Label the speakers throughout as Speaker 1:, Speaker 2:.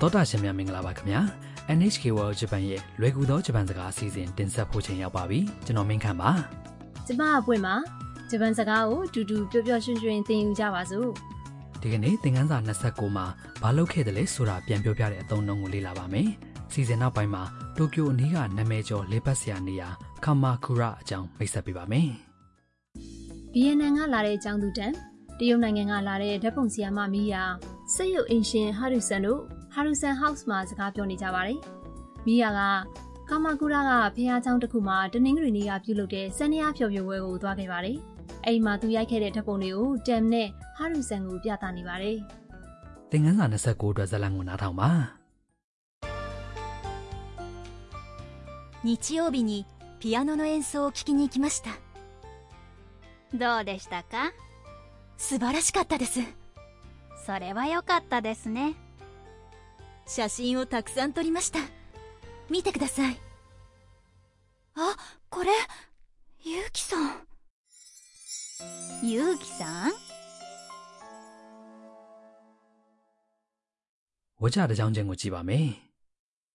Speaker 1: တောတာရှင်များမင်္ဂလာပါခင်ဗျာ NHK World Japan ရဲ့လွယ်ကူသောဂျပန်စကားအစီအစဉ်တင်ဆက်ဖို့ချိန်ရောက်ပါပြီကျွန်တော်မင်းခမ်းပါ
Speaker 2: ကျမအပွင့်မှာဂျပန်စကားကိုအတူတူပျော်ပျော်ရွှင်ရွှင်သင်ယူကြပါစို့
Speaker 1: ဒီကနေ့သင်ခန်းစာ29မှာဘာလုပ်ခဲ့တယ်လဲဆိုတာပြန်ပြောပြတဲ့အသုံးအနှုန်းကိုလေ့လာပါမယ်စီစဉ်နောက်ပိုင်းမှာတိုကျိုအနီးကနာမည်ကျော်လေပတ်စရာနေရာခမာကူရာအကြောင်းမိတ်ဆက်ပေးပါမယ်
Speaker 2: ဗီယက်နမ်ကလာတဲ့အကြောင်းသူတန်တရုတ်နိုင်ငံကလာတဲ့ဓာတ်ပုံဆရာမမီယာစက်ရုပ်အင်ရှင်ဟာရူဆန်တို့ဟာရူဆန်ဟောက်စ်မှာစကားပြောနေကြပါတယ်မီယာကကာမကူရာကဖះเจ้าတစ်ခုမှာတနင်္ဂနွေနေ့ကပြုလုပ်တဲ့စန္ဒယာဖျော်ဖြေပွဲကိုသွားခဲ့ပါတယ်အဲ့ဒီမှာသူရိုက်ခဲ့တဲ့ဓာတ်ပုံတွေကိုတမ်နဲ့ဟာရူဆန်ကိုပြသနေပါတယ်
Speaker 1: သင်ခန်းစာ29အတွက်ဇာတ်လမ်းကိုနားထောင်ပါ
Speaker 3: 日曜日にピアノの演奏を聴きに行きましたどうでしたか
Speaker 4: 素晴らしかったです
Speaker 3: それは良かったですね
Speaker 4: 写真をたくさん撮りました見てくださいあこれゆうきさん
Speaker 3: ゆうきさん
Speaker 1: ဝါကြတစ်ကြောင်းချင်းကိုကြည့်ပါမယ်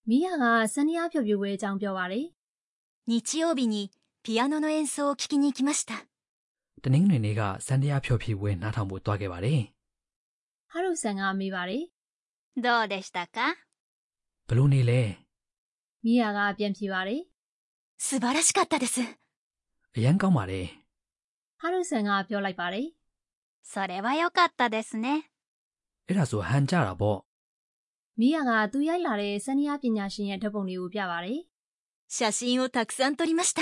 Speaker 2: မီးရကစန္ဒယာဖြိုဖြိုပွဲအကြောင်းပြောပါတယ်
Speaker 4: 日曜日にピアノの演奏を聴きに行きました
Speaker 1: တနင်္ဂနွေနေ့ကစန္ဒယာဖြော်ဖြေပွဲနားထောင်ဖို့တွားခဲ့ပါတယ်
Speaker 2: ။ဟာရုဆန်ကမေးပါတယ်
Speaker 3: どうでしたか
Speaker 1: ဘလို့နေလဲ
Speaker 2: ။မီးရကပြန်ဖြေပါတယ်
Speaker 4: 素晴らしかったです
Speaker 1: အရန်ကောင်းပါတယ်
Speaker 2: ။ဟာရုဆန်ကပြောလိုက်ပါတယ်
Speaker 3: それは良かったですね
Speaker 1: အဲ့ဒါဆိုဟန်ကြတာပေါ့
Speaker 2: ။မီးရကသူရိုက်လာတဲ့စန္ဒယာပညာရှင်ရဲ့ဓာတ်ပုံတွေကိုပြပါတယ်
Speaker 4: 写真をたくさん撮りました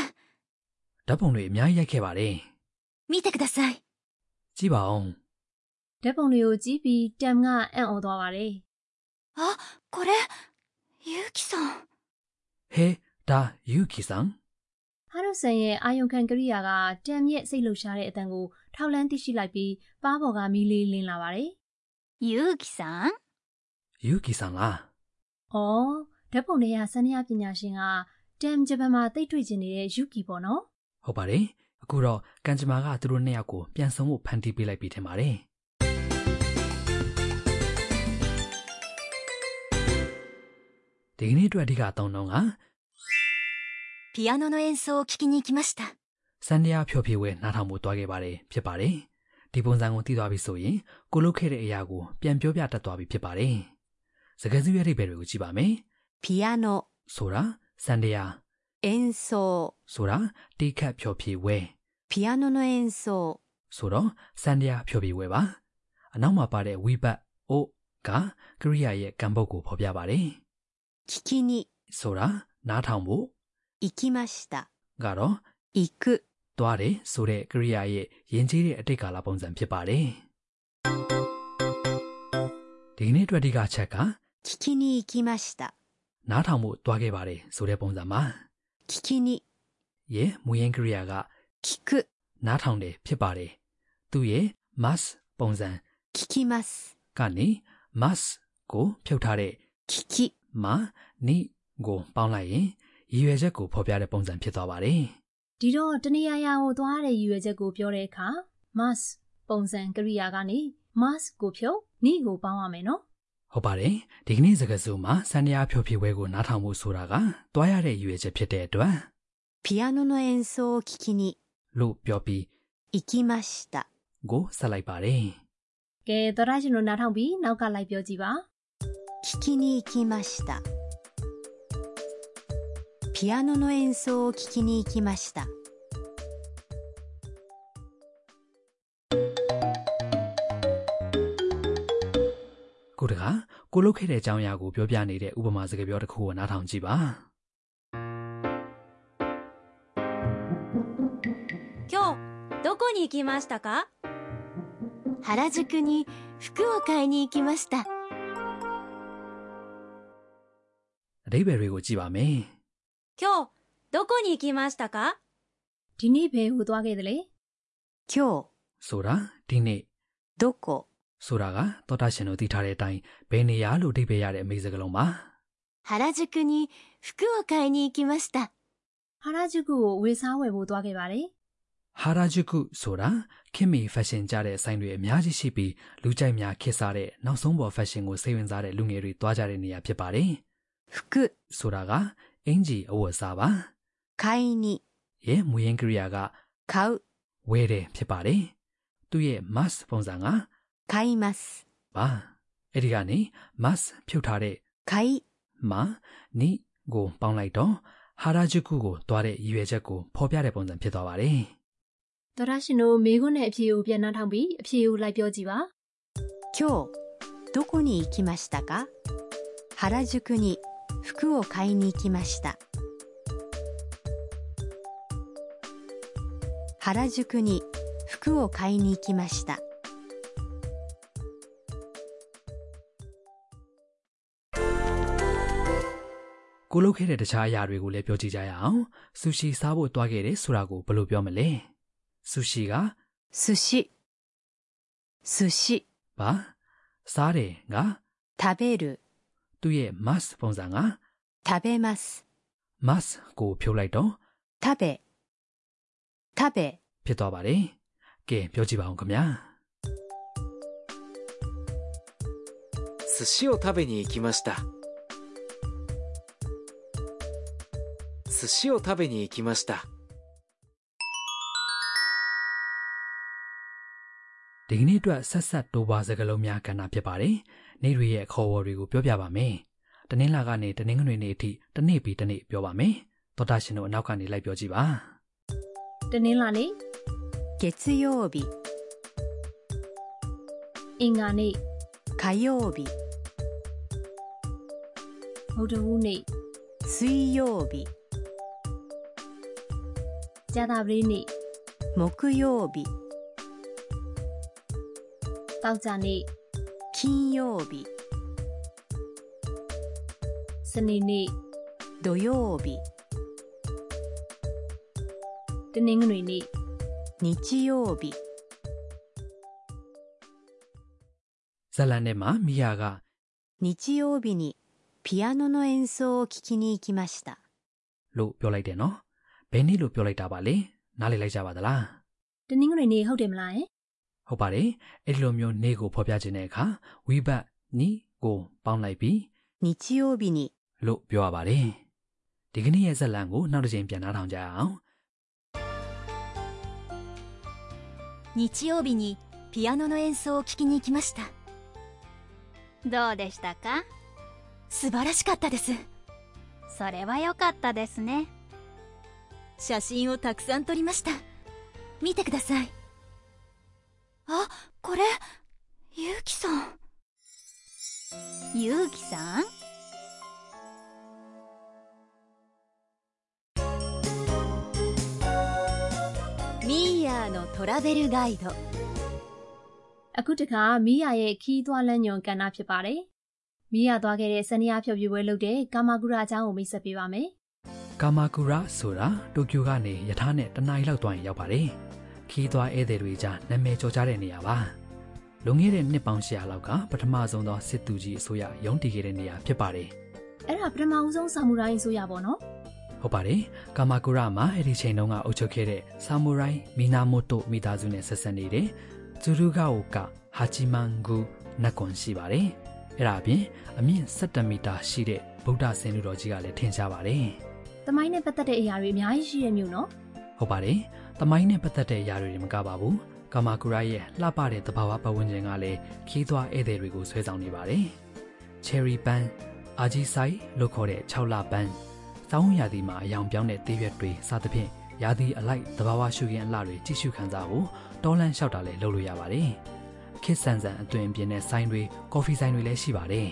Speaker 1: ဓာတ်ပုံတွေအများကြီးရိုက်ခဲ့ပါတယ်
Speaker 4: 見てください
Speaker 1: ကြည့်ပါအောင်
Speaker 2: ။ဓာတ်ပုံတွေကိုကြည့်ပြီးတမ်ကအံ့ဩသွားပါတယ်
Speaker 4: あこれゆうきさん
Speaker 1: ဟေးဒါယူကီဆန်
Speaker 2: ။ဟာရုဆန်ရဲ့အာယုန်ခံကရိယာကတမ်ရဲ့စိတ်လှုပ်ရှားတဲ့အတန်ကိုထောက်လန်းသိရှိလိုက်ပြီးပါးပေါ်ကမီးလေးလင်းလာပါတယ်
Speaker 3: ゆうきさん
Speaker 1: ယူကီဆန်လား
Speaker 2: ။အော်ဓာတ်ပုံတွေကစန္ဒယာပညာရှင်ကတမ်ဂျပန်မှာတိတ်တွေ့ကျင်နေတဲ့ယူကီပေါ့နော်
Speaker 1: ဟုတ်ပါတယ်အခုတော့ကန်ချမာကသူတို့နှစ်ယောက်ကိုပြန်ဆုံဖို့ဖန်တီးပေးလိုက်ပြီထင်ပါတယ်ဒီကနေ့အတွက်အဓိကအသုံးနှုန်းက
Speaker 4: ピアノの演奏を聴きに行きました
Speaker 1: စန္ဒယာဖြော်ဖြေဝဲနားထောင်ဖို့တွားခဲ့ပါတယ်ဖြစ်ပါတယ်ဒီပုံစံကိုသိသွားပြီဆိုရင်ကိုလုတ်ခဲ့တဲ့အရာကိုပြန်ပြောပြတတ်သွားပြီဖြစ်ပါတယ်စကားစုရဲ့အဓိပ္ပာယ်တွေကိုကြည့်ပါမယ်
Speaker 5: ピアノ
Speaker 1: ဆိုတာစန္ဒယာ
Speaker 5: 演奏
Speaker 1: ဆိုတာတိခတ်ဖြော်ဖြေဝဲ
Speaker 5: ピアノの演奏
Speaker 1: ဆိုတော့စန္ဒယာဖြောပြီးဝဲပါအနောက်မှာပါတဲ့ဝိဘတ်အိုကကရိယာရဲ့ကံပုတ်ကိုဖော်ပြပါတယ်
Speaker 5: 聞きに
Speaker 1: ဆိုတာနားထောင်ဖို့
Speaker 5: 行きました
Speaker 1: ကတော့
Speaker 5: 行く
Speaker 1: သွားတယ်ဆိုတဲ့ကရိယာရဲ့ယဉ်ကျေးတဲ့အတိတ်ကာလပုံစံဖြစ်ပါတယ်ဒီကနေ့အတွက်ဒီကချက်က
Speaker 5: 聞きに行きました
Speaker 1: နားထောင်ဖို့သွားခဲ့ပါတယ်ဆိုတဲ့ပုံစံမှာ
Speaker 5: 聞きに
Speaker 1: ရဲ့မူရင်းကရိယာက
Speaker 5: 聞く
Speaker 1: နားထောင်တယ်ဖြစ်ပါတယ်သူ့ရဲ့ must ပုံစံ
Speaker 5: 聞きます
Speaker 1: ကနေ must ကိုဖြုတ်ထားတဲ့
Speaker 5: 聞き
Speaker 1: မှာနိကိုပေါင်းလိုက်ရင်ရည်ရွယ်ချက်ကိုဖော်ပြတဲ့ပုံစံဖြစ်သွားပါတယ်
Speaker 2: ။ဒီတော့တနေရာရာကိုသွားတဲ့ရည်ရွယ်ချက်ကိုပြောတဲ့အခါ must ပုံစံကရိယာကနေ must ကိုဖြုတ်၊နေကိုပေါင်းရမယ်နော်
Speaker 1: ။ဟုတ်ပါတယ်။ဒီကနေ့စကားစုမှာစန္ဒယာဖြိုဖြေပွဲကိုနားထောင်ဖို့ဆိုတာကတွားရတဲ့ရည်ရွယ်ချက်ဖြစ်တဲ့အတွက်
Speaker 5: ピアノの演奏を聞きに
Speaker 1: လို့ပြောပြီး
Speaker 5: 行きました
Speaker 1: ကိုဆက်လိုက်ပါတယ်
Speaker 2: ။ကဲသောတာရှင်တို့နားထောင်ပြီးနောက်ကလိုက်ပြောကြည့်ပါ
Speaker 5: 聞きに行きましたピアノの演奏を聞きに行きました
Speaker 1: ။ကိုတကကိုလုတ်ခဲ့တဲ့အကြောင်းအရာကိုပြောပြနေတဲ့ဥပမာစကားပြောတစ်ခုကိုနားထောင်ကြည့်ပါ
Speaker 3: 今日どこに行きましたか
Speaker 4: 原宿に服を買いに行きました
Speaker 1: ။အဓိပ္ပာယ်တွေကိုကြည့်ပါမယ်
Speaker 3: 今日どこに行きましたか
Speaker 2: ။ဒီနေ့ဘယ်ကိုသွားခဲ့သလဲ
Speaker 5: 今日
Speaker 1: ။ဆိုတာဒီနေ့
Speaker 5: どこ
Speaker 1: ဆိုတာကသောတာရှင်တို့သိထားတဲ့အတိုင်းဘယ်နေရာလို့အဓိပ္ပာယ်ရတဲ့အမေစကားလုံးပါ
Speaker 4: 原宿に服を買いに行きました
Speaker 2: ။ဟာရာဂျူကုကိုဝေစားဝယ်ဖို့သွားခဲ့ပါတယ်
Speaker 1: ။ ဟာရာဂျူကုဆိုတာခင်မီဖက်ရှင်ကြတဲ့ဆိုင်တွေအများကြီးရှိပြီးလူကြိုက်များခေတ်စားတဲ့နောက်ဆုံးပေါ်ဖက်ရှင်ကိုစိတ်ဝင်စားတဲ့လူငယ်တွေသွားကြတဲ့နေရာဖြစ်ပါတယ်
Speaker 5: 服
Speaker 1: ။ဆိုတာကအင်ဂျီအဝတ်အစားပါ
Speaker 5: 買いに
Speaker 1: ။ရဲ့မူရင်းကရိယာက
Speaker 5: 買う
Speaker 1: ဝဲတယ်ဖြစ်ပါတယ်။သူ့ရဲ့ mass ပုံစံက
Speaker 5: 買います
Speaker 1: ပါ။အဲဒီကနေ mass ဖြုတ်ထားတဲ့
Speaker 5: 買い
Speaker 1: မနိကိုပေါင်းလိုက်တော့ဟာရာဂျူကုကိုသွားတဲ့ရည်ရွယ်ချက်ကိုဖော်ပြတဲ့ပုံစံဖြစ်သွားပါတယ်
Speaker 2: ဒေါက်တာရှင်တို့မိခွန်းနဲ့အဖြေကိုပြန်နှောင်းထောင်ပြီးအဖြေကိုလိုက်ပြောကြည့်ပါ
Speaker 5: 今日どこに行きましたか原宿に服を買いに行きました原宿に服を買いに行きました
Speaker 1: ။ကိုလုတ်ခဲ့တဲ့တခြားအရာတွေကိုလည်းပြောကြည့်ကြရအောင်။ဆူရှီစားဖို့သွားခဲ့တယ်ဆိုတာကိုဘယ်လိုပြောမလဲ။ဆူရှီက
Speaker 5: 寿司寿司
Speaker 1: ပါစားတယ်က
Speaker 5: 食べる
Speaker 1: သူ့ရဲ့ mass ပုံစံက
Speaker 5: 食べます
Speaker 1: mass ကိုဖြုတ်လိုက်တော့
Speaker 5: 食べ食べ
Speaker 1: ဖြစ်သွားပါတယ်။ကဲပြောကြည့်ပါအောင်ခင်ဗျာ
Speaker 6: 寿司を食べに行きました寿司を食べに行きました
Speaker 1: ။ဒီကနေ့အတွက်ဆက်ဆက်တိုးပါစကားလုံးများကဏ္ဍဖြစ်ပါတယ်။နေ့တွေရဲ့အခေါ်အဝေါ်တွေကိုပြောပြပါမယ်။တနင်္လာကနေတနင်္ဂနွေနေ့အထိတစ်နေ့ပြီးတစ်နေ့ပြောပါမယ်။သောတာရှင်တို့အနောက်ကနေလိုက်ပြောကြည့်ပါ။
Speaker 2: တနင်္လာနေ့
Speaker 5: 月曜日
Speaker 2: အင်္ဂါနေ့
Speaker 5: 火曜日
Speaker 2: ဗုဒ္ဓဟူးနေ့
Speaker 5: 水曜日
Speaker 2: ကြာသပတေးနေ့
Speaker 5: 木曜日
Speaker 2: တောက်ကြနေ့
Speaker 5: 金曜日
Speaker 2: စနေနေ့
Speaker 5: 土曜日
Speaker 2: တနင်္ဂနွေနေ့
Speaker 5: 日曜日
Speaker 1: ဇတ်လန်ထဲမှာမိယာက
Speaker 5: 日曜日にピアノの演奏を聴きに行きました
Speaker 1: လို့ပြောလိုက်တယ်နော်ဘယ်နေ့လို့ပြောလိုက်တာပါလဲနားလည်လိုက်ကြပါသလား
Speaker 2: တနင်္ဂနွေနေ့ဟုတ်တယ်မလားယင်
Speaker 1: ဟုတ်ပါတယ်အဲ့ဒီလိုမျိုးနေ့ကိုဖော်ပြခြင်းတဲ့အခါဝိဘတ်နီကိုပေါင်းလိုက်ပြီး
Speaker 5: 日曜日に
Speaker 1: လို့ပြောရပါတယ်ဒီကနေ့ရဲ့ဇတ်လန်ကိုနောက်တစ်ချိန်ပြန်နားထောင်ကြအောင်
Speaker 3: 日曜日にピアノの演奏を聴きに行きましたどうでしたか
Speaker 4: 素晴らしかったです
Speaker 3: それは良かったですね
Speaker 4: 写真をたくさん撮りました見てくださいあこれゆうきさん
Speaker 3: ゆうきさん
Speaker 4: ミーヤーのトラベルガイド
Speaker 2: အခုတခါမိယာရဲ့ခီးသွွားလမ်းညွန်ကဏ္ဍဖြစ်ပါတယ်မိယာသွားခဲ့တဲ့စနေရဖြုတ်ပြပွဲလုပ်တဲ့ကာမာဂူရာအကြောင်းကိုမိတ်ဆက်ပေးပါမယ်
Speaker 1: ကာမာကူရာဆိုတာတိုကျိုကနေယထာနဲ့တစ်နာရီလောက်သွားရင်ရောက်ပါတယ်ခီးသွားဧည့်သည်တွေကြားနာမည်ကျော်ကြားတဲ့နေရာပါလွန်ခဲ့တဲ့နှစ်ပေါင်း100လောက်ကပထမဆုံးသောစစ်သူကြီးအစိုးရရုံးတည်ခဲ့တဲ့နေရာဖြစ်ပါတယ်
Speaker 2: အဲ့ဒါပထမဦးဆုံးဆာမူရိုင်းဆိုရပါတော့နော်
Speaker 1: ဟုတ်ပါတယ်။ကာမာကူရာမှာအဲ့ဒီချိန်တုန်းကအုပ်ချုပ်ခဲ့တဲ့ဆာမူရိုင်းမီနာမိုတိုမိသားစုနဲ့ဆက်ဆက်နေတယ်။ဂျူရူဂါအိုကဟာချီမန်ဂူနက်ကွန်ရှိပါတယ်။အဲ့ဒါအပြင်အမြင့်17မီတာရှိတဲ့ဗုဒ္ဓဆင်လူတော်ကြီးကလည်းထင်ရှားပါတယ်
Speaker 2: တမိုင်းနဲ့ပတ်သက်တဲ့အရာတွေအများကြီးရှိရမျိုးနော်
Speaker 1: ။ဟုတ်ပါတယ်။တမိုင်းနဲ့ပတ်သက်တဲ့အရာတွေမကပါဘူး။ကာမာကူရာရဲ့လှပတဲ့သဘာဝပတ်ဝန်းကျင်ကလည်းခီးသွွားဧည့်သည်တွေကိုဆွဲဆောင်နေပါတယ်။ Cherry Pan အာဂျီဆိုင်လို့ခေါ်တဲ့6လပန်း သောင်းရာသီမှာအယောင်ပြောင်းတဲ့သေးရွက်တွေစသဖြင့်ရာသီအလိုက်သဘာဝရှုခင်းအလှတွေကြည့်ရှုခံစားဖို့တောလန်းလျှောက်တာလည်းလုပ်လို့ရပါတယ်။ခစ်ဆန်ဆန်အသွင်အပြင်တဲ့ဆိုင်တွေကော်ဖီဆိုင်တွေလည်းရှိပါတယ်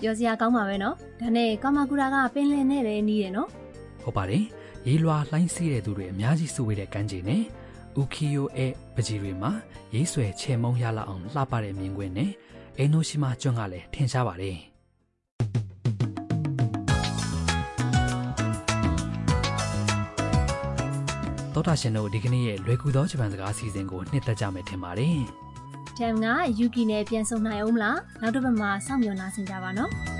Speaker 2: ပြောစရာကောင်းပါပဲနော်ဒါနဲ့ကာမာဂူရာကပင်လယ်နဲ့လည်းနီးတယ်နော်
Speaker 1: ။ဟုတ်ပါတယ်။ရေးလွာလှိုင်းစီးတဲ့သူတွေအများကြီးစုဝေးတဲ့ကမ်းခြေနဲ့ဥခီယိုရဲ့ပကြီးတွေမှာရေးဆွဲချေမုံရလောက်အောင်လှပတဲ့မြင်ကွင်းနဲ့အင်နိုရှိမာကျွန်းကလည်းထင်ရှားပါတယ်။ ။သောတာရှင်တို့ဒီကနေ့ရဲ့လွယ်ကူသောဂျပန်စကားအစီအစဉ်ကိုနှစ်သက်ကြမယ်ထင်ပါတယ်။
Speaker 2: ။ Jam က Yuki နဲ့ပြန်ဆုံနိုင်အောင်မလား။နောက်တစ်ပတ်မှာစောင့်မျှော်နာဆင်ကြပါနော်။